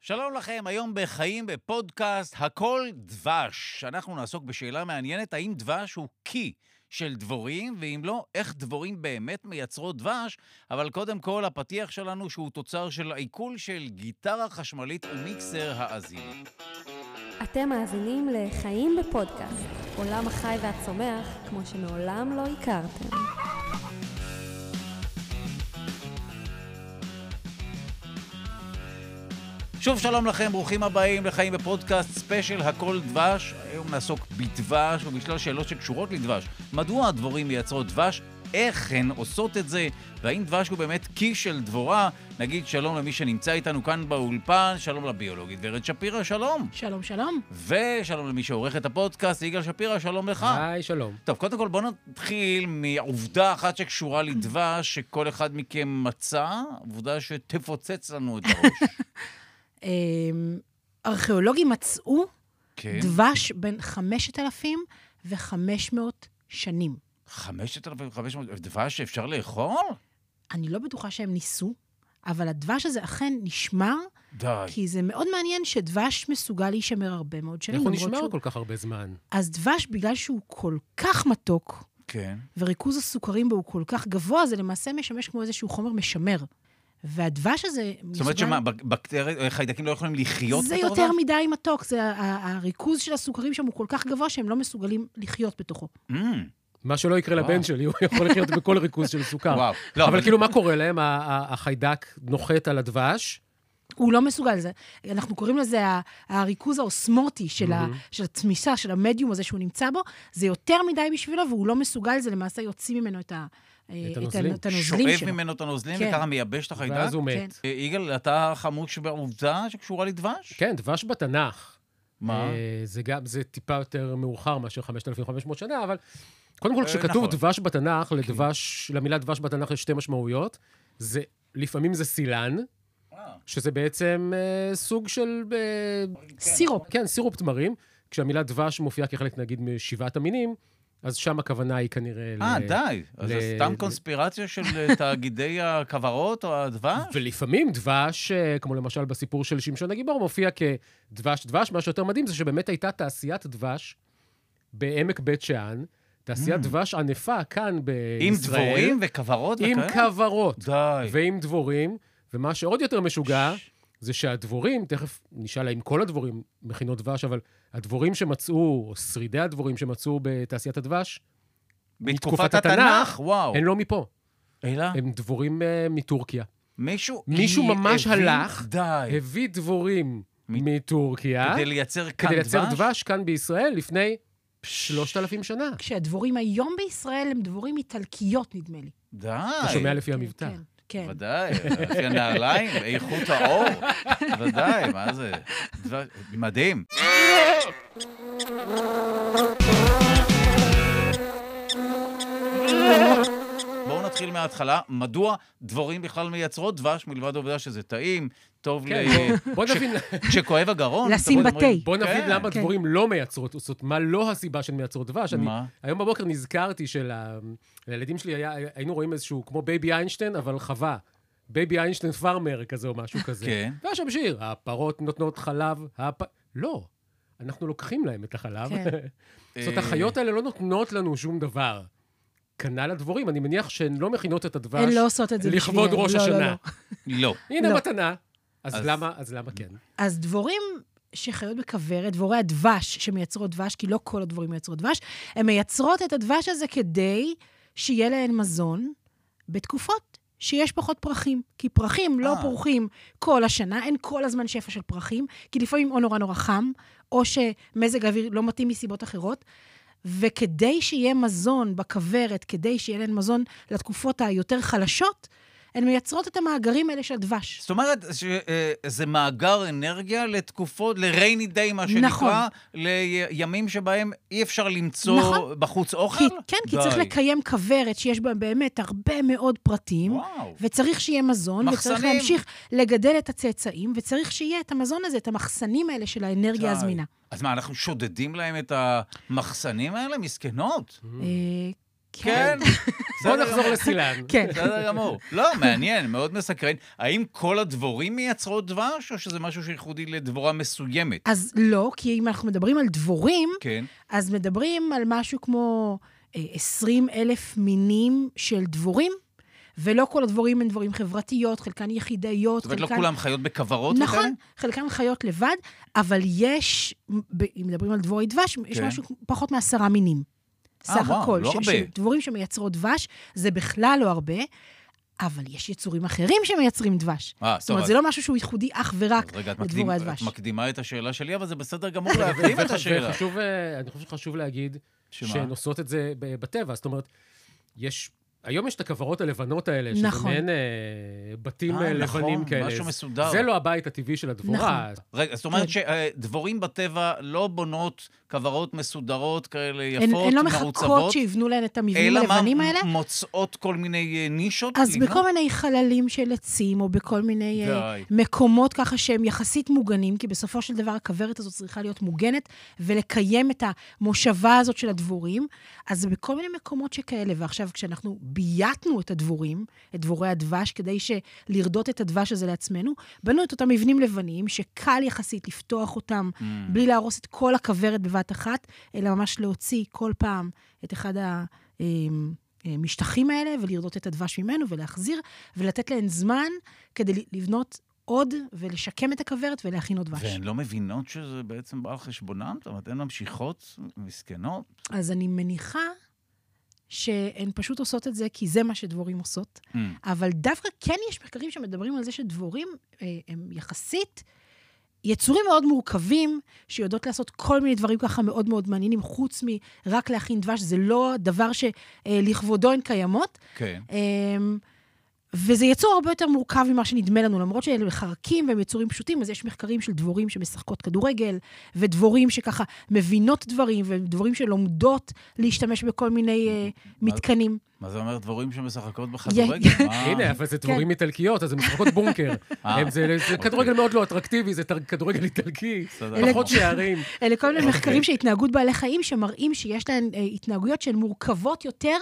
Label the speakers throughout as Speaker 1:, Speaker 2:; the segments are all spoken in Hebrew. Speaker 1: שלום לכם, היום בחיים בפודקאסט הכל דבש. אנחנו נעסוק בשאלה מעניינת, האם דבש הוא קי של דבורים, ואם לא, איך דבורים באמת מייצרות דבש, אבל קודם כל הפתיח שלנו שהוא תוצר של העיכול של גיטרה חשמלית ומיקסר האזיני.
Speaker 2: אתם מאזינים לחיים בפודקאסט, עולם החי והצומח כמו שמעולם לא הכרתם.
Speaker 1: שוב שלום לכם, ברוכים הבאים לחיים בפודקאסט ספיישל הכל דבש. היום נעסוק בדבש ובשלל שאלות שקשורות לדבש. מדוע הדבורים מייצרות דבש? איך הן עושות את זה? והאם דבש הוא באמת קי של דבורה? נגיד שלום למי שנמצא איתנו כאן באולפן, שלום לביולוגית ורד שפירא, שלום.
Speaker 3: שלום, שלום.
Speaker 1: ושלום למי שעורך את הפודקאסט, יגאל שפירא, שלום לך.
Speaker 4: היי, שלום.
Speaker 1: טוב, קודם כל בואו נתחיל מעובדה אחת שקשורה לדבש, שכל אחד מכם מצא, עובדה שתפוצץ לנו את הראש.
Speaker 3: אמ, ארכיאולוגים מצאו
Speaker 1: כן.
Speaker 3: דבש בין 5,000 ו-500 שנים.
Speaker 1: 5,500 דבש שאפשר לאכול?
Speaker 3: אני לא בטוחה שהם ניסו, אבל הדבש הזה אכן נשמר,
Speaker 1: די.
Speaker 3: כי זה מאוד מעניין שדבש מסוגל להישמר הרבה מאוד שנים.
Speaker 4: איך הוא
Speaker 3: למרות
Speaker 4: נשמר
Speaker 3: שהוא-
Speaker 4: כל כך הרבה זמן?
Speaker 3: אז דבש, בגלל שהוא כל כך מתוק,
Speaker 1: כן.
Speaker 3: וריכוז הסוכרים בו הוא כל כך גבוה, זה למעשה משמש כמו איזשהו חומר משמר. והדבש הזה...
Speaker 1: זאת אומרת שמה, בק- בקטריות, חיידקים לא יכולים לחיות
Speaker 3: זה
Speaker 1: בתור
Speaker 3: יותר
Speaker 1: דבר?
Speaker 3: מדי מתוק, זה ה- ה- הריכוז של הסוכרים שם הוא כל כך גבוה שהם לא מסוגלים לחיות בתוכו.
Speaker 1: מ,
Speaker 4: מה שלא יקרה
Speaker 1: וואו.
Speaker 4: לבן שלי, הוא יכול לחיות בכל ריכוז של סוכר.
Speaker 1: וואו. לא,
Speaker 4: אבל כאילו, מה קורה להם? ה- ה- החיידק נוחת על הדבש,
Speaker 3: הוא לא מסוגל לזה. אנחנו קוראים לזה ה- הריכוז האוסמוטי של, ה-
Speaker 4: מהמם.
Speaker 3: של התמיסה, של המדיום הזה שהוא נמצא בו, זה יותר מדי בשבילו, והוא לא מסוגל לזה, למעשה יוציא ממנו את, ה- אה,
Speaker 4: הנוזלים.
Speaker 3: את הנוזלים
Speaker 1: שואב
Speaker 3: שלו.
Speaker 1: ממנו את הנוזלים
Speaker 3: כן.
Speaker 1: וככה מייבש את החיידק?
Speaker 4: ואז הוא מת.
Speaker 1: אה, יגאל, אתה חמוש בעובדה שקשורה לדבש?
Speaker 4: כן, דבש בתנ"ך.
Speaker 1: מה?
Speaker 4: אה, זה גם, זה טיפה יותר מאוחר מאשר 5,500 שנה, אבל קודם כל,
Speaker 1: אה,
Speaker 4: כשכתוב
Speaker 1: נכון. כן.
Speaker 4: דבש בתנ"ך, לדבש, למילה דבש בתנ"ך יש שתי משמעויות. זה, לפעמים זה סילן,
Speaker 1: אה,
Speaker 4: שזה בעצם אה, סוג של... אה,
Speaker 3: סירופ.
Speaker 1: נכון.
Speaker 4: כן, סירופ תמרים. כשהמילה דבש מופיעה כחלק, נגיד, משבעת המינים, אז שם הכוונה היא כנראה... ל-
Speaker 1: אה, די. אז זה
Speaker 4: ל-
Speaker 1: סתם
Speaker 4: ל-
Speaker 1: קונספירציה של אה, תאגידי הכוורות או הדבש?
Speaker 4: ולפעמים דבש, אה, כמו למשל בסיפור של שמשון הגיבור, מופיע כדבש דבש. מה שיותר מדהים זה שבאמת הייתה תעשיית דבש בעמק בית שאן, תעשיית
Speaker 1: Mm.
Speaker 4: דבש ענפה כאן בישראל.
Speaker 1: עם דבורים וכוורות
Speaker 4: עם
Speaker 1: וכאלה?
Speaker 4: כוורות.
Speaker 1: די.
Speaker 4: ועם דבורים, ומה שעוד יותר משוגע, זה שהדבורים, תכף נשאל האם כל הדבורים מכינות דבש, אבל הדבורים שמצאו, או שרידי הדבורים שמצאו בתעשיית הדבש,
Speaker 1: בתקופת
Speaker 4: מתקופת
Speaker 1: התנ"ך,
Speaker 4: התנ"ך,
Speaker 1: וואו.
Speaker 4: הם לא מפה,
Speaker 1: אלא?
Speaker 4: הם דבורים אה, מטורקיה.
Speaker 1: מישהו...
Speaker 4: מישהו
Speaker 1: הבין-
Speaker 4: ממש הלך,
Speaker 1: די.
Speaker 4: הביא דבורים
Speaker 1: מ-
Speaker 4: מטורקיה,
Speaker 1: כדי לייצר כאן
Speaker 4: אה? כדי
Speaker 1: דבש?
Speaker 4: לייצר דבש כאן בישראל לפני 3,000 שנה.
Speaker 3: כשהדבורים היום בישראל הם דבורים איטלקיות, נדמה לי.
Speaker 1: די.
Speaker 4: אתה שומע לפי
Speaker 3: כן,
Speaker 4: המבטא.
Speaker 3: כן, כן.
Speaker 1: ודאי, לפי הנעליים, איכות האור. ודאי, מה זה? דבר- מדהים. בואו נתחיל מההתחלה. מדוע דבורים בכלל מייצרות דבש, מלבד העובדה שזה טעים, טוב ל...
Speaker 4: כן, בוא- בוא
Speaker 1: כש-
Speaker 4: נבין.
Speaker 1: כשכואב הגרון.
Speaker 3: לשים
Speaker 1: תמיד אומרים,
Speaker 3: בתה.
Speaker 4: בוא נבין
Speaker 1: כן.
Speaker 4: למה
Speaker 3: כן.
Speaker 4: דבורים לא מייצרות, זאת מה לא הסיבה שהן מייצרות דבש. אני-
Speaker 1: מה?
Speaker 4: היום בבוקר נזכרתי שלילדים שלי היה, היינו רואים איזשהו, כמו בייבי איינשטיין, אבל חווה. בייבי איינשטיין פארמר כזה או משהו כזה.
Speaker 1: כן.
Speaker 4: והיה שם שיר, הפרות נותנות חלב, הפ... לא, אנחנו לוקחים להם את החלב.
Speaker 3: כן.
Speaker 4: זאת
Speaker 1: אה,
Speaker 4: אומרת, החיות האלה לא נותנות לנו שום דבר. כנ"ל הדבורים, אני מניח שהן לא מכינות את הדבש.
Speaker 3: הן לא עושות את זה בשבילנו.
Speaker 4: לכבוד ראש
Speaker 3: לא, לא,
Speaker 4: השנה.
Speaker 3: לא.
Speaker 1: לא.
Speaker 4: הנה
Speaker 3: לא.
Speaker 4: מתנה. אז,
Speaker 1: אז-
Speaker 4: למה, אז למה כן?
Speaker 3: אז דבורים שחיות בכוורת, דבורי הדבש שמייצרות דבש, כי לא כל הדבורים מייצרות דבש, הן מייצרות את הדבש הזה כדי שיהיה להן מזון בתקופות שיש פחות פרחים. כי פרחים לא
Speaker 1: אה.
Speaker 3: פורחים כל השנה, אין כל הזמן שפע של פרחים, כי לפעמים או נורא נורא חם, או שמזג האוויר לא מתאים מסיבות אחרות. וכדי שיהיה מזון בכוורת, כדי שיהיה להן מזון לתקופות היותר חלשות, הן מייצרות את המאגרים האלה של דבש.
Speaker 1: זאת אומרת שזה מאגר אנרגיה לתקופות, ל-rainy day, מה שנקרא,
Speaker 3: נכון.
Speaker 1: לימים שבהם אי אפשר למצוא
Speaker 3: נכון.
Speaker 1: בחוץ אוכל?
Speaker 3: כי, כן, כי צריך
Speaker 1: די.
Speaker 3: לקיים כוורת שיש בה באמת הרבה מאוד פרטים,
Speaker 1: וואו.
Speaker 3: וצריך שיהיה מזון, וצריך
Speaker 1: מחסנים.
Speaker 3: להמשיך לגדל את הצאצאים, וצריך שיהיה את המזון הזה, את המחסנים האלה של האנרגיה
Speaker 1: די. Mm.
Speaker 3: הזמינה.
Speaker 1: אז מה, אנחנו שודדים להם את המחסנים האלה? מסכנות.
Speaker 3: אה,
Speaker 1: כן.
Speaker 4: בואו
Speaker 1: בסדר
Speaker 4: נחזור
Speaker 1: גמור.
Speaker 4: לסילן.
Speaker 3: כן.
Speaker 1: בסדר גמור. לא, מעניין, מאוד מסקרן. האם כל הדבורים מייצרות דבש, או שזה משהו שייחודי לדבורה מסוימת?
Speaker 3: אז לא, כי אם אנחנו מדברים על דבורים,
Speaker 1: כן.
Speaker 3: אז מדברים על משהו כמו 20 אלף מינים של דבורים, ולא כל הדבורים הם דבורים חברתיות, חלקן יחידאיות,
Speaker 1: זאת אומרת,
Speaker 3: חלקן...
Speaker 1: לא כולם חיות בכוורות וכאלה?
Speaker 3: נכון, חלקן חיות לבד, אבל יש, ב- אם מדברים על דבורי דבש, יש
Speaker 1: כן.
Speaker 3: משהו כמו- פחות מעשרה מינים.
Speaker 1: אה,
Speaker 3: סך
Speaker 1: וואו,
Speaker 3: הכל.
Speaker 1: לא
Speaker 3: ש-
Speaker 1: הרבה.
Speaker 3: של דבורים שמייצרות דבש, זה בכלל לא הרבה, אבל יש יצורים אחרים שמייצרים דבש.
Speaker 1: אה,
Speaker 3: זאת
Speaker 1: טוב,
Speaker 3: אומרת,
Speaker 1: אז-
Speaker 3: זה לא משהו שהוא ייחודי אך ורק
Speaker 1: אז רגע, את
Speaker 3: לדבורי
Speaker 1: מקדים-
Speaker 3: הדבש.
Speaker 1: את מקדימה את השאלה שלי, אבל זה בסדר גמור
Speaker 4: לא,
Speaker 1: להקדים את
Speaker 4: וח-
Speaker 1: השאלה.
Speaker 4: וחשוב, אה, אני חושב שחשוב להגיד
Speaker 1: שמה?
Speaker 4: שהן עושות את זה ב- בטבע. זאת אומרת, יש... היום יש את הכוורות הלבנות האלה, שזה
Speaker 3: נכון.
Speaker 4: מעין אה, בתים
Speaker 1: אה,
Speaker 4: אה,
Speaker 1: נכון,
Speaker 4: לבנים כאלה.
Speaker 1: משהו מסודר.
Speaker 4: זה לא הבית הטבעי של
Speaker 3: נכון.
Speaker 4: הדבורה.
Speaker 1: רגע, זאת אומרת
Speaker 3: כן.
Speaker 1: שדבורים בטבע לא בונות כוורות מסודרות כאלה
Speaker 3: הן
Speaker 1: יפות,
Speaker 3: הן לא
Speaker 1: מרוצבות,
Speaker 3: מחכות שיבנו להן את המבנים
Speaker 1: אלא
Speaker 3: הלבנים
Speaker 1: מה,
Speaker 3: האלה.
Speaker 1: מוצאות כל מיני אה, נישות?
Speaker 3: אז
Speaker 1: לבנות?
Speaker 3: בכל מיני חללים של עצים, או בכל מיני אה,
Speaker 1: די.
Speaker 3: מקומות ככה שהם יחסית מוגנים, כי בסופו של דבר הכוורת הזאת צריכה להיות מוגנת, ולקיים את המושבה הזאת של הדבורים. אז זה בכל מיני מקומות שכאלה. ועכשיו, כשאנחנו בייתנו את הדבורים, את דבורי הדבש, כדי ש- לרדות את הדבש הזה לעצמנו, בנו את אותם מבנים לבנים, שקל יחסית לפתוח אותם, mm. בלי להרוס את כל הכוורת בבת אחת, אלא ממש להוציא כל פעם את אחד ה... אמ, המשטחים האלה ולרדות את הדבש ממנו ולהחזיר, ולתת להן זמן כדי ל- לבנות עוד ולשקם את הכוורת ולהכין עוד דבש.
Speaker 1: והן לא מבינות שזה בעצם בא על חשבונן? זאת אומרת, הן ממשיכות, מסכנות.
Speaker 3: אז אני מניחה שהן פשוט עושות את זה כי זה מה שדבורים עושות,
Speaker 1: Mm.
Speaker 3: אבל דווקא כן יש מחקרים שמדברים על זה שדבורים אה, הם יחסית... יצורים מאוד מורכבים, שיודעות לעשות כל מיני דברים ככה מאוד מאוד מעניינים, חוץ מרק להכין דבש, זה לא דבר שלכבודו הן קיימות,
Speaker 1: כן.
Speaker 3: אמ, וזה יצור הרבה יותר מורכב ממה שנדמה לנו, למרות שאלה מחרקים והם יצורים פשוטים, אז יש מחקרים של דבורים שמשחקות כדורגל, ודבורים שככה מבינות דברים, ודבורים שלומדות להשתמש בכל מיני אה, מתקנים.
Speaker 1: מה זה אומר דבורים שמשחקות בכדורגל? מה?
Speaker 4: הנה, אבל זה
Speaker 3: כן.
Speaker 4: דבורים איטלקיות, אז הן משחקות בונקר.
Speaker 1: אה.
Speaker 4: הם- זה זה כדורגל מאוד לא אטרקטיבי, זה טר- כדורגל איטלקי,
Speaker 1: בסדר.
Speaker 4: פחות שערים.
Speaker 3: אלה כל מיני מחקרים של התנהגות בעלי חיים, שמראים שיש להן אה, התנהגויות שהן מורכבות יותר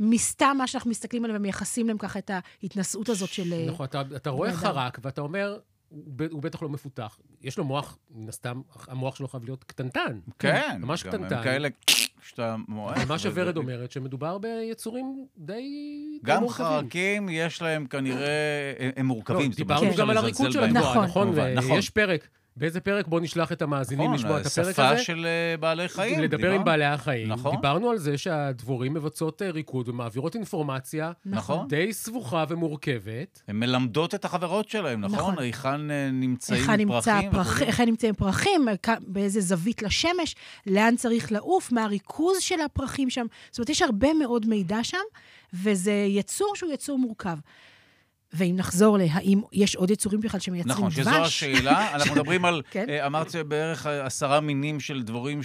Speaker 3: מסתם מה שאנחנו מסתכלים עליהן ומייחסים להן ככה את ההתנשאות הזאת של... אה,
Speaker 4: נכון, אתה, אתה רואה
Speaker 3: אדם.
Speaker 4: חרק ואתה אומר, הוא ב- הוא בטח לא מפותח. יש לו מוח, מן הסתם, המוח שלו חייב להיות קטנטן.
Speaker 1: כן.
Speaker 4: ממש
Speaker 1: גם הם
Speaker 4: קטנטן.
Speaker 1: כאלה שאתה מועד.
Speaker 4: ומה שוורד אומרת, שמדובר ביצורים די די
Speaker 1: גם
Speaker 4: מורכבים.
Speaker 1: חרקים, יש להם כנראה... הם- הם
Speaker 4: לא,
Speaker 1: מורכבים. זאת אומרת,
Speaker 4: דיברנו
Speaker 1: אי אפשר
Speaker 4: גם על
Speaker 1: לזלזל
Speaker 4: הריקוד של
Speaker 1: בהם.
Speaker 4: הדבורה, נכון?
Speaker 1: כמובן, נכון.
Speaker 4: יש פרק. באיזה פרק בוא נשלח את המאזינים לשמוע את הפרק
Speaker 1: שפה
Speaker 4: הזה?
Speaker 1: נכון, של אה, בעלי חיים.
Speaker 4: לדבר עם
Speaker 1: דיברנו.
Speaker 4: בעלי החיים.
Speaker 1: נכון.
Speaker 4: דיברנו על זה שהדבורים מבצעות אה, ריקוד ומעבירות אינפורמציה
Speaker 1: נכון.
Speaker 4: די סבוכה ומורכבת.
Speaker 1: הן מלמדות את החברות שלהם, נכון?
Speaker 3: נכון.
Speaker 1: היכן אה, נמצאים
Speaker 3: היכן נמצא
Speaker 1: פרחים.
Speaker 3: הפרח-
Speaker 1: וכו'.
Speaker 3: היכן נמצאים פרחים, כ- באיזה זווית לשמש, לאן צריך לעוף, מה הריכוז של הפרחים שם. זאת אומרת, יש הרבה מאוד מידע שם, וזה יצור שהוא יצור מורכב. ואם נחזור להאם יש עוד יצורים בכלל שמייצרים
Speaker 1: נכון,
Speaker 3: דבש,
Speaker 1: שזו השאלה. אנחנו מדברים על,
Speaker 3: כן.
Speaker 1: אה, אמרת בערך אה, עשרה מינים של דבורים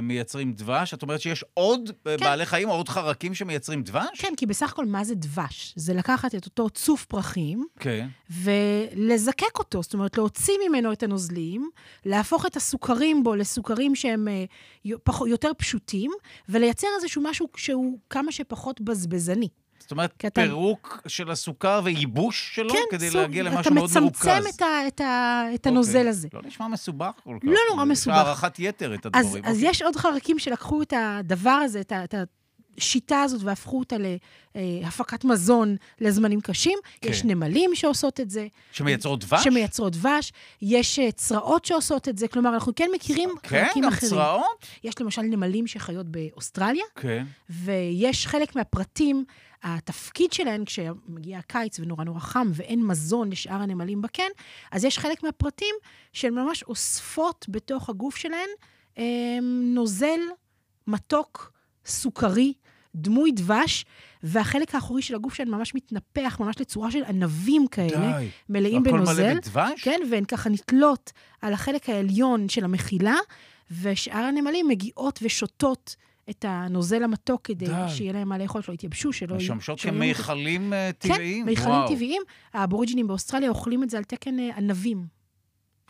Speaker 1: שמייצרים דבש. את אומרת שיש עוד אה,
Speaker 3: כן.
Speaker 1: בעלי חיים או עוד חרקים שמייצרים דבש?
Speaker 3: כן, כי בסך הכל מה זה דבש? זה לקחת את אותו צוף פרחים,
Speaker 1: כן.
Speaker 3: ולזקק אותו, זאת אומרת, להוציא ממנו את הנוזלים, להפוך את הסוכרים בו לסוכרים שהם אה, יו- פח- יותר פשוטים, ולייצר איזשהו משהו שהוא כמה שפחות בזבזני.
Speaker 1: זאת אומרת,
Speaker 3: קטן. כן,
Speaker 1: פירוק של הסוכר וייבוש שלו לא כדי
Speaker 3: סוג-
Speaker 1: להגיע למשהו מאוד מרוכז.
Speaker 3: אתה מצמצם את, ה, את, ה, את הנוזל
Speaker 1: אוקיי.
Speaker 3: הזה.
Speaker 1: לא נשמע מסובך כל כך.
Speaker 3: לא נורא
Speaker 1: יש
Speaker 3: מסובך.
Speaker 1: הערכת יתר את
Speaker 3: אז,
Speaker 1: הדברים.
Speaker 3: אז
Speaker 1: אוקיי.
Speaker 3: יש עוד חרקים שלקחו את הדבר הזה, את, ה- את השיטה הזאת, והפכו אותה להפקת מזון לזמנים קשים.
Speaker 1: כן.
Speaker 3: יש נמלים שעושות את זה.
Speaker 1: שמייצרות דבש?
Speaker 3: שמייצרות דבש. יש אה, צרעות שעושות את זה. כלומר, אנחנו כן מכירים
Speaker 1: כן,
Speaker 3: חרקים
Speaker 1: גם
Speaker 3: אחרים.
Speaker 1: צרעות?
Speaker 3: יש למשל נמלים שחיות באוסטרליה,
Speaker 1: כן.
Speaker 3: ויש חלק מהפרטים, התפקיד שלהן, כשמגיע הקיץ ונורא נורא חם ואין מזון לשאר הנמלים בקן, אז יש חלק מהפרטים שהן ממש אוספות בתוך הגוף שלהן אה, נוזל מתוק, סוכרי, דמוי דבש, והחלק האחורי של הגוף שלהן ממש מתנפח, ממש לצורה של ענבים כאלה,
Speaker 1: די.
Speaker 3: מלאים
Speaker 1: הכל מלא
Speaker 3: בנוזל.
Speaker 1: בדבש?
Speaker 3: כן, והן ככה נתלות על החלק העליון של המחילה, ושאר הנמלים מגיעות ושותות את הנוזל המתוק כדי
Speaker 1: די.
Speaker 3: שיהיה להם מה לאכול, שלא יתייבשו, שלא... יהיו-
Speaker 1: משמשות
Speaker 3: שלא יהיו מתו-
Speaker 1: כמיכלים אה, טבעיים?
Speaker 3: כן, מיכלים
Speaker 1: וואו.
Speaker 3: טבעיים. האבוריג'ינים באוסטרליה אוכלים את זה על תקן אה, ענבים.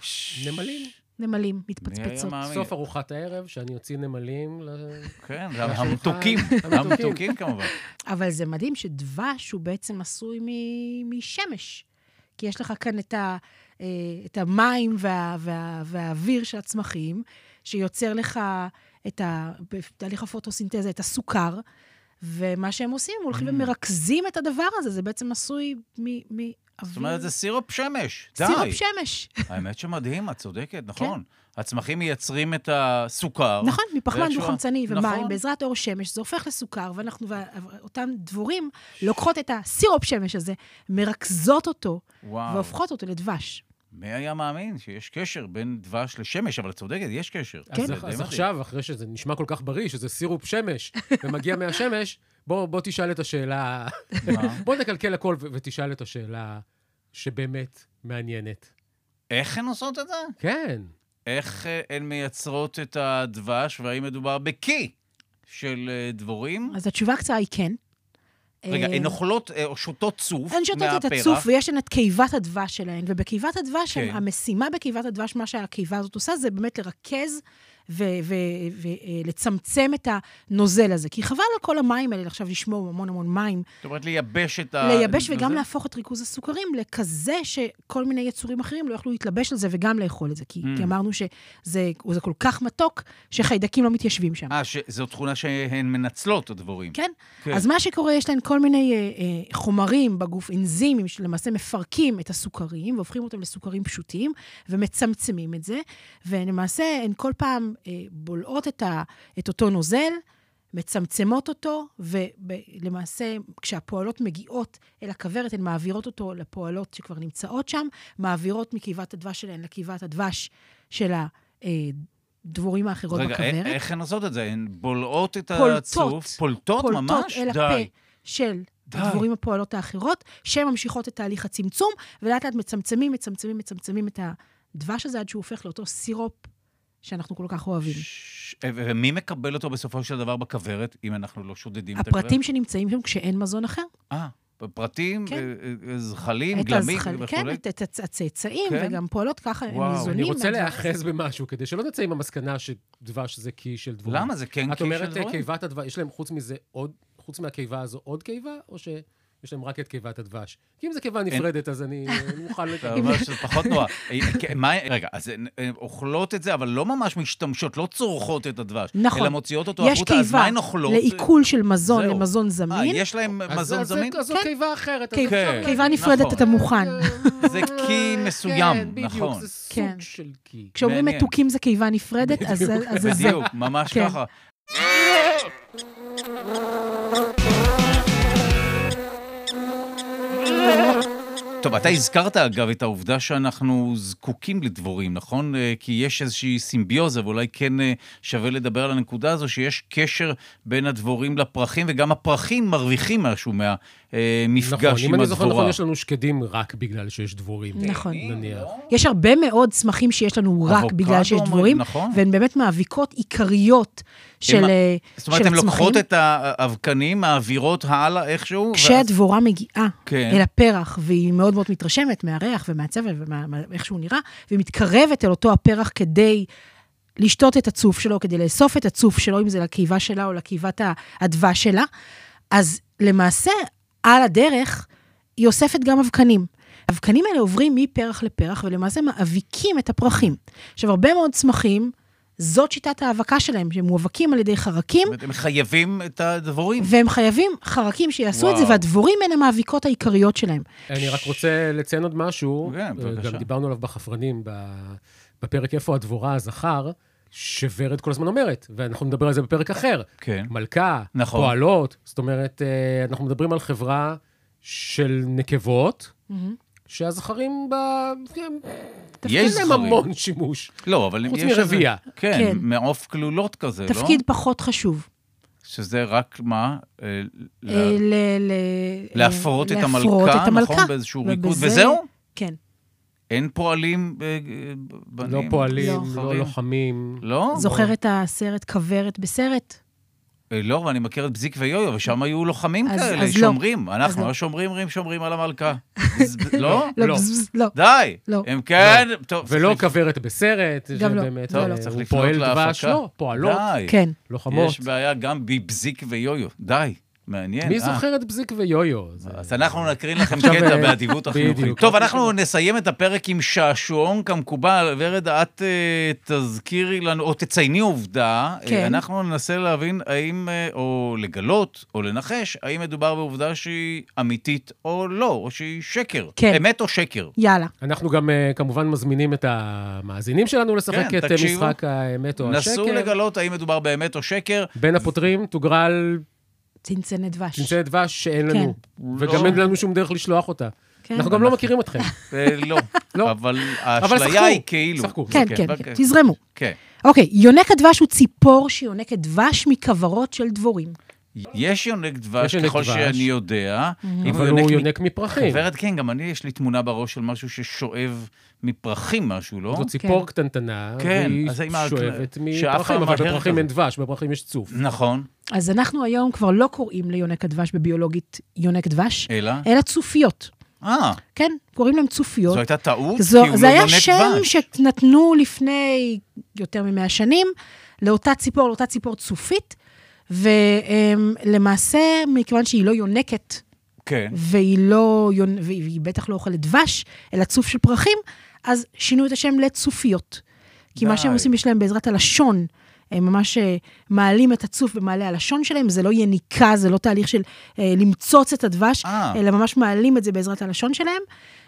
Speaker 1: ש-
Speaker 4: נמלים.
Speaker 3: נמלים,
Speaker 1: מי היה
Speaker 3: מתפצפצות.
Speaker 1: מאמין?
Speaker 4: סוף ארוחת הערב, שאני אוציא נמלים ל...
Speaker 1: כן, זה
Speaker 4: לשולחן.
Speaker 1: המתוקים,
Speaker 4: המתוקים.
Speaker 1: המתוקים כמובן.
Speaker 3: אבל זה מדהים שדבש הוא בעצם עשוי מ- משמש. כי יש לך כאן את, ה, אה, את המים וה, וה, והאוויר של הצמחים, שיוצר לך את ה... בתהליך הפוטוסינתזה, את הסוכר, ומה שהם עושים, הם
Speaker 1: Mm.
Speaker 3: הולכים ומרכזים את הדבר הזה, זה בעצם עשוי מאוויר...
Speaker 1: זאת אומרת, זה סירופ שמש. די.
Speaker 3: סירופ שמש. כן.
Speaker 1: האמת שמדהים, את צודקת, נכון. הצמחים מייצרים את הסוכר.
Speaker 3: נכון, מפחמן
Speaker 1: ואיכשהו-
Speaker 3: דו-חמצני ומים,
Speaker 1: נכון.
Speaker 3: בעזרת אור שמש, זה הופך לסוכר, ואנחנו, ואותם דבורים, לוקחות את הסירופ שמש הזה, מרכזות אותו,
Speaker 1: וואו.
Speaker 3: והופכות אותו לדבש.
Speaker 1: מי היה מאמין שיש קשר בין דבש לשמש, אבל את צודקת, יש קשר.
Speaker 3: כן.
Speaker 4: אז,
Speaker 1: זה
Speaker 4: אח-
Speaker 1: די
Speaker 4: אז
Speaker 1: מדהים.
Speaker 4: עכשיו, אחרי שזה נשמע כל כך בריא, שזה סירופ שמש, ומגיע מהשמש, בוא, בוא תשאל את השאלה...
Speaker 1: מה?
Speaker 4: בוא נקלקל הכל ו- ותשאל את השאלה שבאמת מעניינת.
Speaker 1: איך הן עושות את זה?
Speaker 4: כן.
Speaker 1: איך אה, הן מייצרות את הדבש, והאם מדובר בקי של אה, דבורים?
Speaker 3: אז התשובה הקצרה היא כן.
Speaker 1: רגע,
Speaker 3: אה,
Speaker 1: הן אוכלות אה, או שותות צוף
Speaker 3: הן שותות את
Speaker 1: מהפרח.
Speaker 3: הצוף, ויש להן את קיבת הדבש שלהן, ובקיבת הדבש,
Speaker 1: כן.
Speaker 3: כן. המשימה בקיבת הדבש, מה שהקיבה הזאת עושה, זה באמת לרכז ולצמצם אה, את הנוזל הזה. כי חבל על כל המים האלה עכשיו לשמור המון המון מים
Speaker 1: זאת אומרת, לייבש את ה...
Speaker 3: לייבש וגם
Speaker 1: זה-
Speaker 3: להפוך את ריכוז הסוכרים לכזה שכל מיני יצורים אחרים לא יכלו להתלבש על זה וגם לאכול את זה. כי,
Speaker 1: Mm.
Speaker 3: כי אמרנו שזה זה כל כך מתוק, שחיידקים לא מתיישבים שם.
Speaker 1: אה, ש- זו תכונה שהן מנצלות, הדבורים.
Speaker 3: כן?
Speaker 1: כן.
Speaker 3: כן. אז מה שקורה, יש להן כל מיני אה, אה, חומרים בגוף, אנזימים, שלמעשה מפרקים את הסוכרים והופכים אותם לסוכרים פשוטים, ומצמצמים את זה, ולמעשה הן כל פעם אה, בולעות את, ה, את אותו נוזל. מצמצמות אותו, ולמעשה כשהפועלות מגיעות אל הכוורת, הן מעבירות אותו לפועלות שכבר נמצאות שם, מעבירות מקיבת הדבש שלהן לקיבת הדבש של הדבורים האחרות
Speaker 1: רגע, אה,
Speaker 3: בכוורת.
Speaker 1: א- איך הן עושות את זה? הן בולעות את
Speaker 3: פולטות.
Speaker 1: הצוף? פולטות. ממש?
Speaker 3: אל
Speaker 1: די.
Speaker 3: הפה של
Speaker 1: די.
Speaker 3: הדבורים הפועלות האחרות, שממשיכות את תהליך הצמצום, ולאט לאט מצמצמים, מצמצמים, מצמצמים את הדבש הזה עד שהוא הופך לאותו סירופ שאנחנו כל כך אוהבים.
Speaker 1: ש- אה, ו- ומי מקבל אותו בסופו של דבר בכוורת, אם אנחנו לא שודדים את הכוורת?
Speaker 3: הפרטים שנמצאים שם כשאין מזון אחר.
Speaker 1: אה, פרטים,
Speaker 3: כן.
Speaker 1: אה, אה, זחלים,
Speaker 3: את
Speaker 1: גלמים
Speaker 3: הזחל- כן,
Speaker 1: וכולי.
Speaker 3: את את הצ- הצאצאים,
Speaker 1: כן.
Speaker 3: וגם פועלות ככה, הם
Speaker 1: וואו, אני
Speaker 3: ניזונים.
Speaker 4: אני רוצה
Speaker 3: מהדבר הזה.
Speaker 4: להיאחז במשהו, כדי שלא נצא עם המסקנה שדבש זה קי של דבורים.
Speaker 1: למה? זה כן
Speaker 4: את
Speaker 1: קי של
Speaker 4: אומרת אה,
Speaker 1: דבורים?
Speaker 4: קיבת הדבש, יש להם חוץ מזה עוד, חוץ מהקיבה הזו עוד קיבה, או שיש להם רק את קיבת הדבש? כי אם זו קיבה נפרדת, אז אני אני מוכן... לק-
Speaker 1: אתה אומר שזה פחות נורא. אה, כן, מה- רגע, אז הן הן אוכלות את זה, אבל לא ממש משתמשות, לא צורכות את הדבש.
Speaker 3: נכון.
Speaker 1: אלא מוציאות אותו
Speaker 3: יש
Speaker 1: החוצה, אז מה הן
Speaker 3: קיבה
Speaker 1: אוכלות?
Speaker 3: לעיכול של מזון,
Speaker 1: זהו.
Speaker 3: למזון
Speaker 1: אה,
Speaker 3: זמין.
Speaker 1: יש להם
Speaker 4: אז-
Speaker 1: מזון
Speaker 4: אז זה-
Speaker 1: זמין?
Speaker 4: אז זו
Speaker 3: כן.
Speaker 4: קיבה אחרת. אז
Speaker 3: כי-
Speaker 1: כן.
Speaker 3: קיבה נפרדת,
Speaker 1: נכון.
Speaker 3: אתה מוכן.
Speaker 1: זה קי מסוים,
Speaker 4: כן, בדיוק,
Speaker 1: נכון.
Speaker 4: זה סוג
Speaker 3: כן.
Speaker 4: של קי.
Speaker 3: כשאומרים
Speaker 1: מעניין.
Speaker 3: מתוקים זה קיבה נפרדת, אז זה- אז זה זה.
Speaker 1: בדיוק, ממש
Speaker 3: כן.
Speaker 1: ככה. טוב, אתה הזכרת אגב את העובדה שאנחנו זקוקים לדבורים, נכון? אה, כי יש איזושהי סימביוזה, ואולי כן אה, שווה לדבר על הנקודה הזו, שיש קשר בין הדבורים לפרחים, וגם הפרחים מרוויחים משהו מהמפגש עם הדבורה.
Speaker 4: נכון, אם אני זוכר נכון, יש לנו שקדים רק בגלל שיש דבורים.
Speaker 3: נכון.
Speaker 1: אה,
Speaker 4: נניח.
Speaker 1: לא.
Speaker 3: יש הרבה מאוד צמחים שיש לנו רק
Speaker 1: אבוקדו
Speaker 3: בגלל שיש
Speaker 1: אומרים,
Speaker 3: דבורים,
Speaker 1: נכון.
Speaker 3: והן באמת מאביקות עיקריות של
Speaker 1: הם-
Speaker 3: אה,
Speaker 1: זאת אומרת,
Speaker 3: של
Speaker 1: הן לוקחות
Speaker 3: הצמחים.
Speaker 1: את האבקנים, מעבירות הלאה איכשהו, ואז-
Speaker 3: כשהדבורה מגיעה
Speaker 1: כן.
Speaker 3: אל הפרח, והיא מאוד מאוד מתרשמת מהריח ומהצבע ומאיך שהוא נראה, והיא מתקרבת אל אותו הפרח כדי לשתות את הצוף שלו, כדי לאסוף את הצוף שלו, אם זה לקיבה שלה או לקיבת ה- הדבש שלה, אז למעשה, על הדרך, היא אוספת גם אבקנים. האבקנים האלה עוברים מפרח לפרח, ולמעשה מאביקים את הפרחים. עכשיו, הרבה מאוד צמחים, זאת שיטת ההאבקה שלהם, שהם מואבקים על ידי חרקים,
Speaker 1: זאת אומרת, הם חייבים את הדבורים.
Speaker 3: והם חייבים חרקים שיעשו את זה,
Speaker 1: וואו.
Speaker 3: והדבורים הן המאביקות העיקריות שלהם.
Speaker 4: אה, אני רק רוצה לציין עוד משהו. אה,
Speaker 1: כן, בבקשה.
Speaker 4: גם דיברנו עליו בחפרנים, ב- בפרק איפה הדבורה הזכר, שוורד כל הזמן אומרת, ואנחנו נדבר על זה בפרק אחר.
Speaker 1: כן.
Speaker 4: מלכה,
Speaker 1: נכון.
Speaker 4: פועלות, זאת אומרת, אה, אנחנו מדברים על חברה של נקבות,
Speaker 1: Mm-hmm.
Speaker 4: שהזכרים בה... הם-
Speaker 1: יש
Speaker 4: אין להם
Speaker 1: זכרים.
Speaker 4: המון שימוש.
Speaker 1: לא, אבל אם
Speaker 4: חוץ
Speaker 1: יש... איזה-
Speaker 4: מרבייה.
Speaker 1: כן,
Speaker 3: כן.
Speaker 1: מעוף כלולות כזה, לא?
Speaker 3: תפקיד פחות חשוב.
Speaker 1: שזה רק מה? אה, ל-
Speaker 3: אה, ל- ל-
Speaker 1: להפרות את
Speaker 3: להפרות
Speaker 1: המלכה,
Speaker 3: את המלכה.
Speaker 1: נכון? באיזשהו
Speaker 3: ובזה-
Speaker 1: ריקוד, וזהו?
Speaker 3: כן.
Speaker 1: אין פועלים אה, אה, בנים?
Speaker 4: לא פועלים,
Speaker 1: זכרים?
Speaker 4: לא לוחמים.
Speaker 1: לא?
Speaker 3: זוכר את הסרט כוורת בסרט?
Speaker 1: אה, לא, אבל אני מכיר את בזיק ויויו, ושם היו לוחמים
Speaker 3: אז-
Speaker 1: כאלה,
Speaker 3: אז לא.
Speaker 1: שומרים. אנחנו
Speaker 3: לא.
Speaker 1: השומרים שומרים על המלכה. ז- לא?
Speaker 4: לא.
Speaker 3: לא, בז- לא.
Speaker 1: די.
Speaker 3: לא.
Speaker 1: הם כן... טוב,
Speaker 4: ולא
Speaker 1: צריך-
Speaker 4: כוורת בסרט,
Speaker 3: גם לא.
Speaker 4: שבאמת,
Speaker 3: לא,
Speaker 4: אה,
Speaker 3: לא.
Speaker 1: צריך
Speaker 4: הוא
Speaker 1: לפנות
Speaker 4: פועל
Speaker 1: להפקה.
Speaker 4: דבש, לא, פועלות,
Speaker 1: די.
Speaker 3: כן.
Speaker 4: לוחמות.
Speaker 1: יש בעיה גם בבזיק ויויו. די. מעניין.
Speaker 4: מי
Speaker 1: אה.
Speaker 4: זוכר את בזיק ויויו? זה-
Speaker 1: אז אנחנו נקרין לכם
Speaker 4: עכשיו,
Speaker 1: קטע
Speaker 4: אה,
Speaker 1: באדיבות החינוכית.
Speaker 4: בדיוק.
Speaker 1: טוב, אנחנו נסיים את הפרק עם שעשועון כמקובל. ורד, את אה, תזכירי לנו, או תצייני עובדה. אה,
Speaker 3: כן.
Speaker 1: אנחנו ננסה להבין האם, אה, או לגלות, או לנחש, האם מדובר בעובדה שהיא אמיתית או לא, או שהיא שקר.
Speaker 3: כן.
Speaker 1: אמת או שקר.
Speaker 3: יאללה.
Speaker 4: אנחנו גם אה, כמובן מזמינים את המאזינים שלנו לשחק
Speaker 1: כן,
Speaker 4: את אה,
Speaker 1: תקשיבו.
Speaker 4: משחק האמת או השקר.
Speaker 1: נסו לגלות האם מדובר באמת או שקר.
Speaker 4: בין הפותרים תוגרל
Speaker 3: צנצנת דבש.
Speaker 4: צנצנת דבש שאין לנו, וגם
Speaker 1: לא.
Speaker 4: אין לנו שום דרך לשלוח אותה.
Speaker 3: כן.
Speaker 4: אנחנו גם לא מכירים אתכם.
Speaker 1: אה, לא.
Speaker 4: לא.
Speaker 1: אבל
Speaker 4: אבל
Speaker 1: האשליה
Speaker 4: שחקו,
Speaker 1: היא כאילו.
Speaker 4: שחקו.
Speaker 3: כן,
Speaker 1: אוקיי,
Speaker 3: כן,
Speaker 1: אוקיי.
Speaker 3: כן. תזרמו.
Speaker 1: כן.
Speaker 3: אוקיי, יונק הדבש הוא ציפור שיונקת דבש מכוורות של דבורים.
Speaker 1: יש יונק דבש,
Speaker 4: יש יונק
Speaker 1: ככל
Speaker 4: דבש.
Speaker 1: שאני יודע.
Speaker 3: Mm-hmm.
Speaker 1: אם
Speaker 4: אבל הוא
Speaker 1: מ-
Speaker 4: יונק מפרחים.
Speaker 1: ורד, כן, גם אני, יש לי תמונה בראש של משהו ששואב מפרחים משהו, לא?
Speaker 4: זו ציפור קטנטנה,
Speaker 1: כן,
Speaker 4: והיא
Speaker 1: אז האם ה-
Speaker 4: שואבת
Speaker 1: שאף פעם לא
Speaker 4: מפרחים, אבל
Speaker 1: מהר
Speaker 4: בפרחים
Speaker 1: כזה.
Speaker 4: אין דבש, בפרחים יש צוף.
Speaker 1: נכון,
Speaker 3: אז אנחנו היום כבר לא קוראים ליונק הדבש בביולוגית יונק דבש,
Speaker 1: אלא?
Speaker 3: אלא צופיות.
Speaker 1: אה,
Speaker 3: כן, קוראים להם צופיות.
Speaker 1: זו הייתה טעות?
Speaker 3: זו,
Speaker 1: כי הוא
Speaker 3: זה
Speaker 1: לא
Speaker 3: היה
Speaker 1: יונק
Speaker 3: שם
Speaker 1: דבש.
Speaker 3: שנתנו לפני יותר ממאה שנים לאותה ציפור, לאותה ציפור צופית, ולמעשה, מכיוון שהיא לא יונקת,
Speaker 1: כן.
Speaker 3: והיא לא, יונ- והיא בטח לא אוכלת דבש, אלא צוף של פרחים, אז שינו את השם לצופיות. כי מה שהם
Speaker 1: די.
Speaker 3: עושים, יש להם בעזרת הלשון. הם ממש אה, מעלים את הצוף במעלה הלשון שלהם, זה לא יניקה, זה לא תהליך של אה, למצוץ את הדבש,
Speaker 1: אה.
Speaker 3: אלא ממש מעלים את זה בעזרת הלשון שלהם.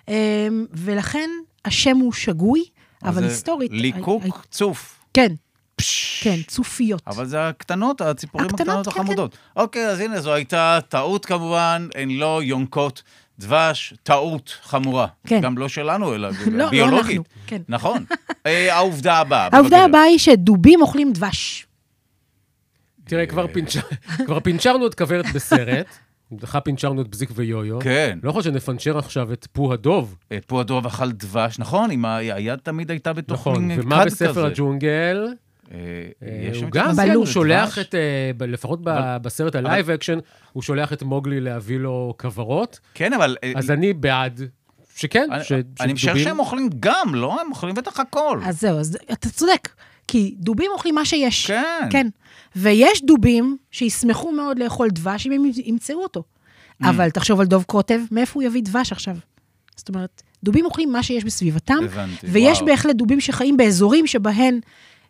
Speaker 3: אה, ולכן השם הוא שגוי, אבל
Speaker 1: זה
Speaker 3: היסטורית...
Speaker 1: ליקוק
Speaker 3: הי- הי-
Speaker 1: צוף.
Speaker 3: כן,
Speaker 1: פשש.
Speaker 3: כן, צופיות.
Speaker 1: אבל זה הקטנות, הציפורים
Speaker 3: הקטנות,
Speaker 1: הקטנות
Speaker 3: כן,
Speaker 1: החמודות. אוקיי, אז הנה, זו הייתה טעות כמובן, הן לא יונקות דבש, טעות חמורה.
Speaker 3: כן.
Speaker 1: גם לא שלנו, אלא
Speaker 3: לא
Speaker 1: ביולוגית.
Speaker 3: אנחנו, כן.
Speaker 1: נכון. אה, העובדה הבאה.
Speaker 3: העובדה
Speaker 1: בבקשה.
Speaker 3: הבאה היא שדובים אוכלים דבש.
Speaker 1: אה,
Speaker 4: תראה, כבר פינצ'- כבר פינצ'רנו את כוורת בסרט, לך פינצ'רנו את בזיק ויויו.
Speaker 1: כן.
Speaker 4: לא יכול שנפנצ'ר עכשיו את פו הדוב.
Speaker 1: אה, פועדוב אכל דבש, נכון, עם ה- היד תמיד הייתה בתוך
Speaker 4: נכון,
Speaker 1: לא, מין
Speaker 4: ומה
Speaker 1: כד
Speaker 4: בספר
Speaker 1: כזה.
Speaker 4: הג'ונגל?
Speaker 1: אה,
Speaker 4: אה,
Speaker 1: יש שם
Speaker 4: הוא
Speaker 1: את
Speaker 4: גם,
Speaker 1: הספר
Speaker 4: כן,
Speaker 3: בלוט.
Speaker 4: הוא
Speaker 1: דבש.
Speaker 4: שולח את, אה, ב- לפחות ב-
Speaker 1: אבל-
Speaker 4: בסרט הלייב אקשן, הוא שולח את מוגלי להביא לו כוורות,
Speaker 1: כן, אבל... אה,
Speaker 4: אז אני בעד שכן,
Speaker 1: אני-
Speaker 4: ש-
Speaker 1: אני משער
Speaker 4: שדובים-
Speaker 1: שהם אוכלים גם, לא? הם אוכלים בטח הכל.
Speaker 3: אז זהו, אז אתה צודק, כי דובים אוכלים מה שיש.
Speaker 1: כן.
Speaker 3: כן. ויש דובים שישמחו מאוד לאכול דבש אם הם ימצאו אותו.
Speaker 1: Mm.
Speaker 3: אבל תחשוב על דוב קוטב, מאיפה הוא יביא דבש עכשיו? זאת אומרת, דובים אוכלים מה שיש בסביבתם,
Speaker 1: הבנתי,
Speaker 3: ויש
Speaker 1: וואו.
Speaker 3: בהחלט דובים שחיים באזורים שבהם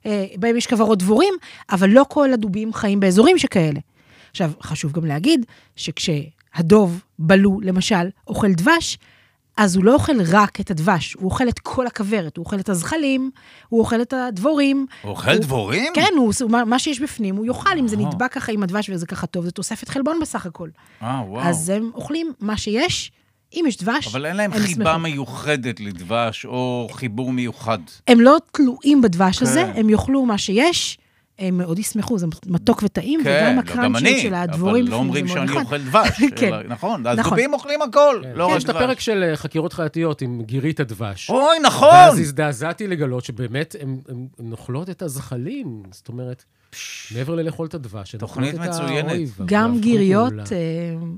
Speaker 3: אה, בהם יש כוורות דבורים, אבל לא כל הדובים חיים באזורים שכאלה. עכשיו, חשוב גם להגיד שכשהדוב, בלו, למשל, אוכל דבש, אז הוא לא אוכל רק את הדבש, הוא אוכל את כל הכוורת, הוא אוכל את הזחלים, הוא אוכל את הדבורים.
Speaker 1: הוא אוכל דבורים?
Speaker 3: כן, הוא, הוא- מה, מה שיש בפנים הוא יאכל, אם זה
Speaker 1: אוקיי. אה.
Speaker 3: נדבק ככה עם הדבש וזה ככה טוב, זה תוספת חלבון בסך הכל.
Speaker 1: אה, וואו.
Speaker 3: אז הם אוכלים מה שיש, אם יש דבש,
Speaker 1: אבל אין להם
Speaker 3: הם
Speaker 1: חיבה
Speaker 3: ישמחו.
Speaker 1: מיוחדת לדבש או חיבור מיוחד.
Speaker 3: הם לא תלויים בדבש
Speaker 1: כן.
Speaker 3: הזה, הם יאכלו מה שיש, הם מאוד ישמחו, זה מתוק וטעים,
Speaker 1: כן,
Speaker 3: וגם
Speaker 1: לא, גם
Speaker 3: הקראנצ'יות
Speaker 1: אני,
Speaker 3: של
Speaker 1: אבל
Speaker 3: הדבורים
Speaker 1: לא אומרים
Speaker 3: זה מאוד
Speaker 1: שאני
Speaker 3: נחמד.
Speaker 1: אוכל דבש.
Speaker 3: כן.
Speaker 1: אלא- נכון, אז
Speaker 3: נכון.
Speaker 1: דובים אוכלים הכל, לא
Speaker 4: כן,
Speaker 1: רק
Speaker 4: יש את הפרק
Speaker 1: דבש.
Speaker 4: של אה, חקירות חייתיות עם גירית הדבש.
Speaker 1: אוי, נכון!
Speaker 4: ואז הזדעזעתי לגלות שבאמת הן הן- הן אוכלות את הזחלים, זאת אומרת, מעבר ללאכול את הדבש, הן
Speaker 1: תוכנית
Speaker 4: אוכלות את
Speaker 1: מצוינת.
Speaker 4: האוי ואבוי,
Speaker 3: גם
Speaker 4: כל
Speaker 3: גיריות
Speaker 4: פעולה.
Speaker 3: אה,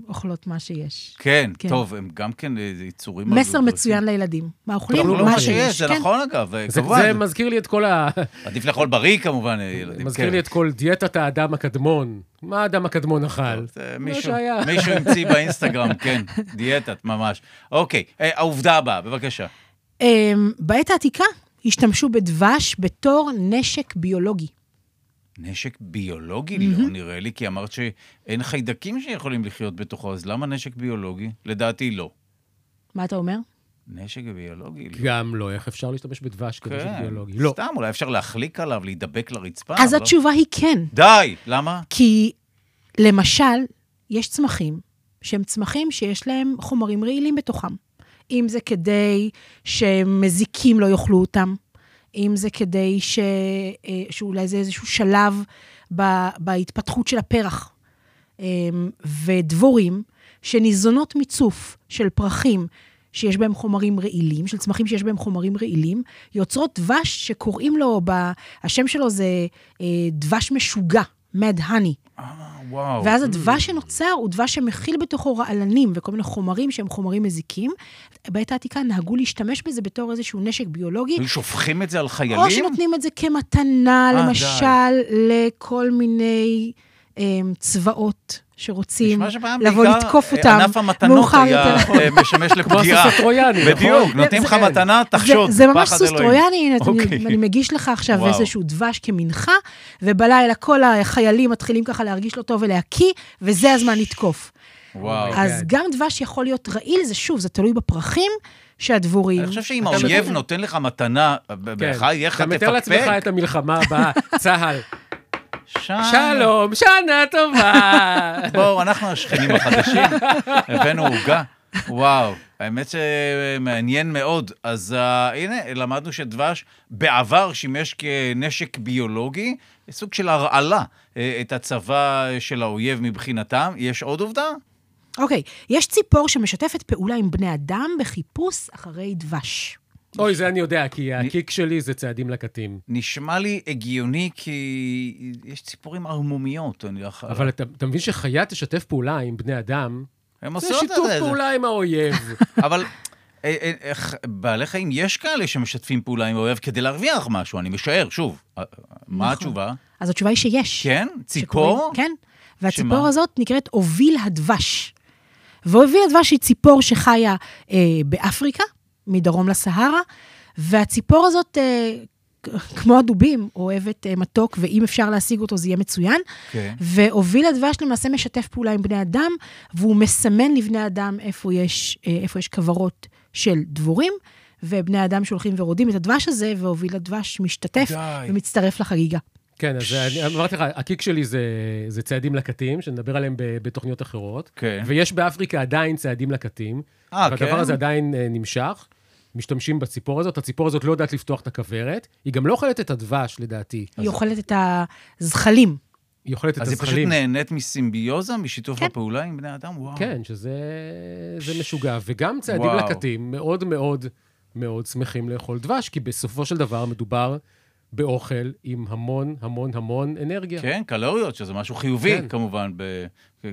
Speaker 3: אוכלות מה שיש.
Speaker 1: לא כן,
Speaker 3: כן.
Speaker 1: טוב, הם גם כן אה, יצורים...
Speaker 3: מסר
Speaker 1: אגרסיביים.
Speaker 3: מצוין לילדים. מה אוכלים?
Speaker 1: תאכלו
Speaker 4: לא
Speaker 1: מה
Speaker 4: שיש,
Speaker 1: שיש, זה
Speaker 3: כן.
Speaker 1: נכון אגב, אה,
Speaker 4: זה-
Speaker 1: כמובן. כן.
Speaker 4: זה מזכיר לי את כל ה...
Speaker 1: עדיף לאכול בריא כמובן, אה, ילדים.
Speaker 4: מזכיר
Speaker 1: כן.
Speaker 4: לי את כל דיאטת האדם הקדמון. מה האדם הקדמון אכל?
Speaker 3: לא
Speaker 1: זה
Speaker 4: מה
Speaker 1: מישהו-
Speaker 4: שהיה.
Speaker 1: מישהו המציא באינסטגרם, כן, דיאטת, ממש. אוקיי, אה, העובדה הבאה, בבקשה.
Speaker 3: אמ, בעת העתיקה השתמשו בדבש בתור נשק ביולוגי.
Speaker 1: נשק ביולוגי? לא, נראה לי, כי אמרת שאין חיידקים שיכולים לחיות בתוכו, אז למה נשק ביולוגי? לדעתי לא.
Speaker 3: מה אתה אומר?
Speaker 1: נשק ביולוגי? לא.
Speaker 4: גם לא, איך אפשר להשתמש בדבש כנשק
Speaker 1: כן,
Speaker 4: ביולוגי? לא.
Speaker 1: סתם, אולי אפשר להחליק עליו, להידבק לרצפה.
Speaker 3: אז
Speaker 1: אבל לא-
Speaker 3: התשובה היא כן.
Speaker 1: די, למה?
Speaker 3: כי למשל, יש צמחים שהם צמחים שיש להם חומרים רעילים בתוכם. אם זה כדי שמזיקים לא יאכלו אותם, אם זה כדי ש... אה, שאולי זה איזשהו שלב ב... בהתפתחות של הפרח. אה, ודבורים שניזונות מצוף של פרחים שיש בהם חומרים רעילים, של צמחים שיש בהם חומרים רעילים, יוצרות דבש שקוראים לו, ב... השם שלו זה אה, דבש משוגע, מד הני.
Speaker 1: אה, וואו.
Speaker 3: ואז
Speaker 1: Mm.
Speaker 3: הדבש שנוצר הוא דבש שמכיל בתוכו רעלנים וכל מיני חומרים שהם חומרים מזיקים. בעת העתיקה נהגו להשתמש בזה בתור איזשהו נשק ביולוגי,
Speaker 1: היו שופכים את זה על חיילים?
Speaker 3: או שנותנים את זה כמתנה,
Speaker 1: אה,
Speaker 3: למשל, לכל מיני אמ, צבאות שרוצים
Speaker 1: נשמע שפעם
Speaker 3: לבוא
Speaker 1: בעיקר,
Speaker 3: לתקוף
Speaker 1: אה,
Speaker 3: אותם.
Speaker 1: ענף המתנות
Speaker 3: מאוחר
Speaker 1: היה
Speaker 3: יותר.
Speaker 1: אה, משמש
Speaker 4: כמו
Speaker 1: לפגיעה.
Speaker 4: הסוס הטרויאני, נכון?
Speaker 1: בדיוק, נותנים לך
Speaker 4: כן.
Speaker 1: מתנה, תחשוד,
Speaker 3: זה, זה ממש
Speaker 1: פחד
Speaker 3: סוס
Speaker 1: אלוהים.
Speaker 3: טרויאני, הנה,
Speaker 1: אוקיי.
Speaker 3: אני, אני מגיש לך עכשיו
Speaker 1: וואו.
Speaker 3: וואו. איזשהו דבש כמנחה, ובלילה כל החיילים מתחילים ככה להרגיש לא טוב ולהקיא, וזה הזמן לתקוף.
Speaker 1: וואו.
Speaker 3: אז
Speaker 4: God.
Speaker 3: גם דבש יכול להיות רעיל, זה שוב, זה תלוי בפרחים שהדבורים...
Speaker 1: אני חושב שאם
Speaker 4: אתה
Speaker 1: האויב
Speaker 4: מתאר-
Speaker 1: נותן לך מתנה,
Speaker 4: כן.
Speaker 1: בחייך
Speaker 4: אתה מתאר לעצמך
Speaker 1: תפקפק.
Speaker 4: את המלחמה הבאה, צה"ל.
Speaker 1: שם.
Speaker 4: שלום, שנה טובה.
Speaker 1: בואו, אנחנו השכנים החדשים, הבאנו עוגה. וואו, האמת שמעניין מאוד. אז uh, הנה, למדנו שדבש בעבר שימש כנשק ביולוגי, סוג של הרעלה אה, את הצבא של האויב מבחינתם. יש עוד עובדה?
Speaker 3: אוקיי, יש ציפור שמשתפת פעולה עם בני אדם בחיפוש אחרי דבש.
Speaker 4: אוי, זה אני יודע, כי הקיק שלי זה צעדים לקטים.
Speaker 1: נשמע לי הגיוני כי יש ציפורים ערמומיות, אני לא יכול...
Speaker 4: אבל אתה אתה מבין שחיה תשתף פעולה עם בני אדם?
Speaker 1: הם
Speaker 4: זה
Speaker 1: עושות את
Speaker 4: שיתוף
Speaker 1: זה.
Speaker 4: פעולה עם האויב.
Speaker 1: אבל אה, אה, איך- בעלי חיים, יש כאלה שמשתפים פעולה עם האויב כדי להרוויח משהו, אני משער, שוב. אה, אה, מה
Speaker 3: נכון.
Speaker 1: התשובה?
Speaker 3: אז התשובה היא שיש.
Speaker 1: כן? ציפור?
Speaker 3: שקוראים- כן. והציפור
Speaker 1: שמה?
Speaker 3: הזאת נקראת אוביל הדבש. ואוביל הדבש היא ציפור שחיה אה, באפריקה, מדרום לסהרה, והציפור הזאת, אה, כ- כמו הדובים, אוהבת אה, מתוק, ואם אפשר להשיג אותו זה יהיה מצוין.
Speaker 1: כן.
Speaker 3: ואוביל הדבש למעשה משתף פעולה עם בני אדם, והוא מסמן לבני אדם איפה יש, אה, איפה יש כוורות של דבורים, ובני אדם שהולכים ורודים את הדבש הזה, ואוביל הדבש משתתף
Speaker 1: די.
Speaker 3: ומצטרף לחגיגה.
Speaker 4: כן, אז אני- אמרתי לך, הקיק שלי זה- זה צעדים לקטים, שנדבר עליהם ב- בתוכניות אחרות.
Speaker 1: כן.
Speaker 4: ויש באפריקה עדיין צעדים לקטים.
Speaker 1: אה, כן?
Speaker 4: והדבר הזה עדיין אה, נמשך. משתמשים בציפור הזאת, הציפור הזאת לא יודעת לפתוח את הכוורת, היא גם לא אוכלת את הדבש, לדעתי.
Speaker 3: היא אוכלת את הזחלים.
Speaker 4: היא אוכלת את
Speaker 1: אז היא פשוט
Speaker 4: הזחלים.
Speaker 1: נהנית מסימביוזה, משיתוף
Speaker 3: כן.
Speaker 1: הפעולה עם בני אדם? וואו.
Speaker 4: כן, שזה זה משוגע. וגם צעדים
Speaker 1: אה. וואו.
Speaker 4: לקטים מאוד מאוד מאוד שמחים לאכול דבש, כי בסופו של דבר מדובר באוכל עם המון המון המון אנרגיה.
Speaker 1: כן, קלוריות, שזה משהו חיובי,
Speaker 4: כן.
Speaker 1: כמובן, ב...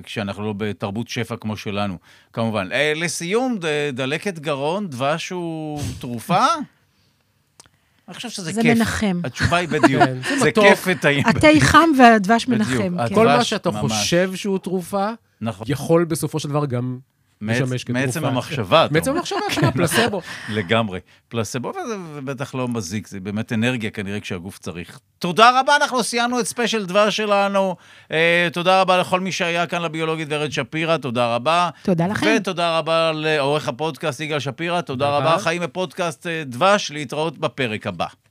Speaker 1: כשאנחנו לא בתרבות שפע כמו שלנו, כמובן. אה, לסיום, ד... דלקת גרון, דבש הוא תרופה? אני חושב שזה
Speaker 3: זה
Speaker 1: כיף.
Speaker 3: מנחם.
Speaker 1: התשובה היא בדיוק.
Speaker 4: כן, זה
Speaker 1: זה
Speaker 4: מתוק.
Speaker 1: כיף וטעים.
Speaker 3: התה חם והדבש
Speaker 1: בדיוק.
Speaker 3: מנחם.
Speaker 1: הכל-
Speaker 3: כן.
Speaker 4: כל מה
Speaker 1: דבש,
Speaker 4: שאתה
Speaker 1: ממש.
Speaker 4: חושב שהוא תרופה,
Speaker 1: נכון.
Speaker 4: יכול בסופו של דבר גם
Speaker 1: מעצ-
Speaker 4: לשמש כתרופה.
Speaker 1: מעצם המחשבה, אתה
Speaker 4: מעצם
Speaker 1: אומר.
Speaker 4: המחשבה, כן,
Speaker 1: לא.
Speaker 4: הפלסבו.
Speaker 1: לגמרי. פלסבו, וזה בטח לא מזיק, זה באמת אנרגיה כנראה כשהגוף צריך. תודה רבה, אנחנו סיימנו את ספיישל דבר שלנו. אה, תודה רבה לכל מי שהיה כאן לביולוגית ורד שפירא, תודה רבה.
Speaker 3: תודה לכם.
Speaker 1: ותודה רבה לעורך הפודקאסט יגאל שפירא, תודה
Speaker 4: תודה.
Speaker 1: רבה. חיים בפודקאסט אה, דבש, להתראות בפרק הבא.